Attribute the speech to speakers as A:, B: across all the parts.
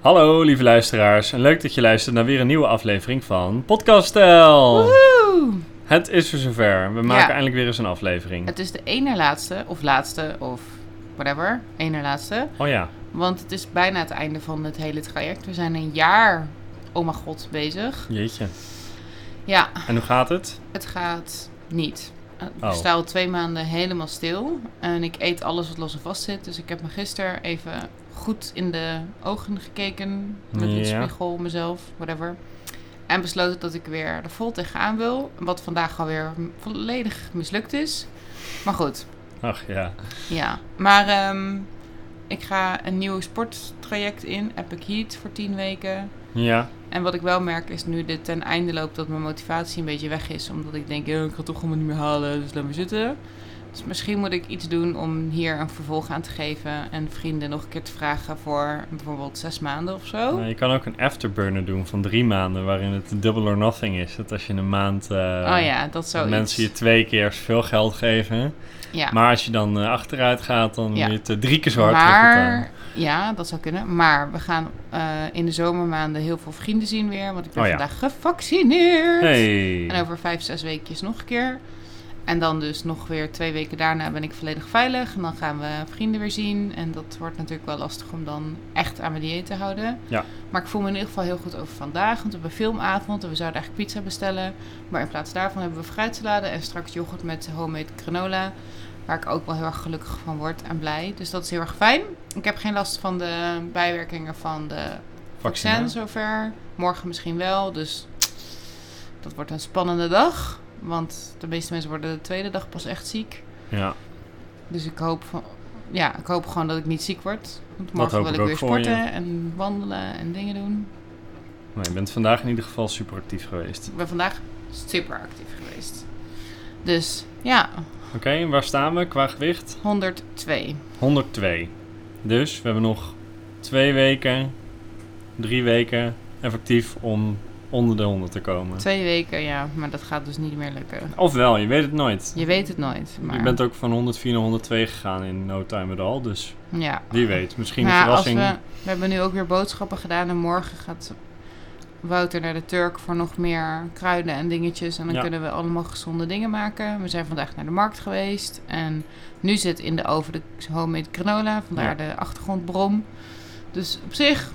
A: Hallo lieve luisteraars en leuk dat je luistert naar weer een nieuwe aflevering van Podcast Stijl.
B: Woehoe!
A: Het is weer zover. We maken
B: Ja.
A: eindelijk weer eens een aflevering.
B: Het is de één na laatste, of laatste, of whatever. Één na laatste.
A: Oh ja,
B: Want het is bijna het einde van het hele traject. We zijn een jaar, oh mijn god, bezig.
A: jeetje.
B: Ja,
A: En hoe gaat het?
B: het gaat niet. Eh, Ik
A: Oh.
B: sta al twee maanden helemaal stil. En ik eet alles wat los en vast zit. Dus ik heb me gisteren even goed in de ogen gekeken. Met een
A: Ja.
B: spiegel, mezelf, whatever. En besloten dat ik weer er vol tegenaan wil. Wat vandaag alweer volledig mislukt is. Maar goed,
A: Ach ja.
B: Ja, maar ehm, ik ga een nieuw sporttraject in, Epic Heat, voor tien weken.
A: Ja,
B: En wat ik wel merk is nu dit ten einde loopt dat mijn motivatie een beetje weg is. Omdat ik denk, "Eh, ik ga het toch allemaal niet meer halen, dus laat maar zitten. Dus misschien moet ik iets doen om hier een vervolg aan te geven. En vrienden nog een keer te vragen voor bijvoorbeeld zes maanden of zo.
A: Nou, je kan ook een afterburner doen van drie maanden waarin het double or nothing is. Dat als je een maand eh,
B: oh ja, dat zou
A: mensen je twee keer veel geld geven.
B: Ja.
A: Maar als je dan eh, achteruit gaat, dan
B: Ja.
A: moet je het eh, drie keer zo hard terugbetalen.
B: maar, ja, dat zou kunnen. Maar we gaan eh, in de zomermaanden heel veel vrienden zien weer. Want ik ben
A: Oh ja.
B: vandaag gevaccineerd.
A: Hey.
B: En over vijf, zes weekjes nog een keer. En dan dus nog weer twee weken daarna ben ik volledig veilig. En dan gaan we vrienden weer zien. En dat wordt natuurlijk wel lastig om dan echt aan mijn dieet te houden.
A: Ja.
B: Maar ik voel me in ieder geval heel goed over vandaag. Want we hebben filmavond en we zouden eigenlijk pizza bestellen. Maar in plaats daarvan hebben we fruitsalade en straks yoghurt met homemade granola. Waar ik ook wel heel erg gelukkig van word en blij. Dus dat is heel erg fijn. Ik heb geen last van de bijwerkingen van de
A: Vaccina.
B: vaccin zover. Morgen misschien wel. Dus dat wordt een spannende dag. Want de meeste mensen worden de tweede dag pas echt ziek.
A: Ja,
B: Dus ik hoop, van, ja, ik hoop gewoon dat ik niet ziek word. Want
A: hoop
B: morgen wil
A: ik
B: ik
A: ook
B: weer
A: voor je.
B: sporten en wandelen en dingen doen.
A: maar Nou, je bent vandaag in ieder geval super actief geweest.
B: Ik ben vandaag super actief geweest. Dus ja,
A: Oké, en waar staan we qua gewicht?
B: 102.
A: 102. Dus we hebben nog twee weken, drie weken effectief om onder de 100 te komen.
B: Twee weken, ja, maar dat gaat dus niet meer lukken.
A: Ofwel, je weet het nooit.
B: Je weet het nooit. Maar
A: Je bent ook van 104 naar 102 gegaan in no time at all. Dus
B: ja.
A: wie weet, misschien een
B: Nou, als we,
A: verrassing.
B: we hebben nu ook weer boodschappen gedaan en morgen gaat Wouter naar de Turk voor nog meer kruiden en dingetjes. En dan
A: Ja.
B: kunnen we allemaal gezonde dingen maken. We zijn vandaag naar de markt geweest en nu zit in de oven de homemade granola, vandaar de achtergrondbrom. Dus op zich,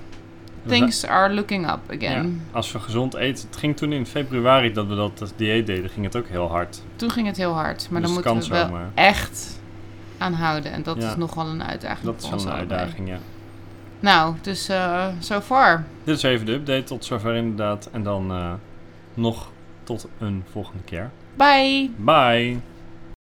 B: things are looking up again.
A: Als we gezond eten. Het ging toen in februari dat we dat als dieet deden, ging het ook heel hard.
B: Toen ging het heel hard, maar
A: Dus
B: dan
A: het
B: moeten we
A: kan
B: wel
A: zomaar.
B: echt aan houden. En dat
A: Ja.
B: is nogal een uitdaging
A: Dat is
B: voor
A: wel
B: ons
A: een
B: allebei.
A: uitdaging, ja.
B: Nou, dus eh so far.
A: Dit is even de update tot zover inderdaad. En dan eh, nog tot een volgende keer.
B: Bye!
A: Bye!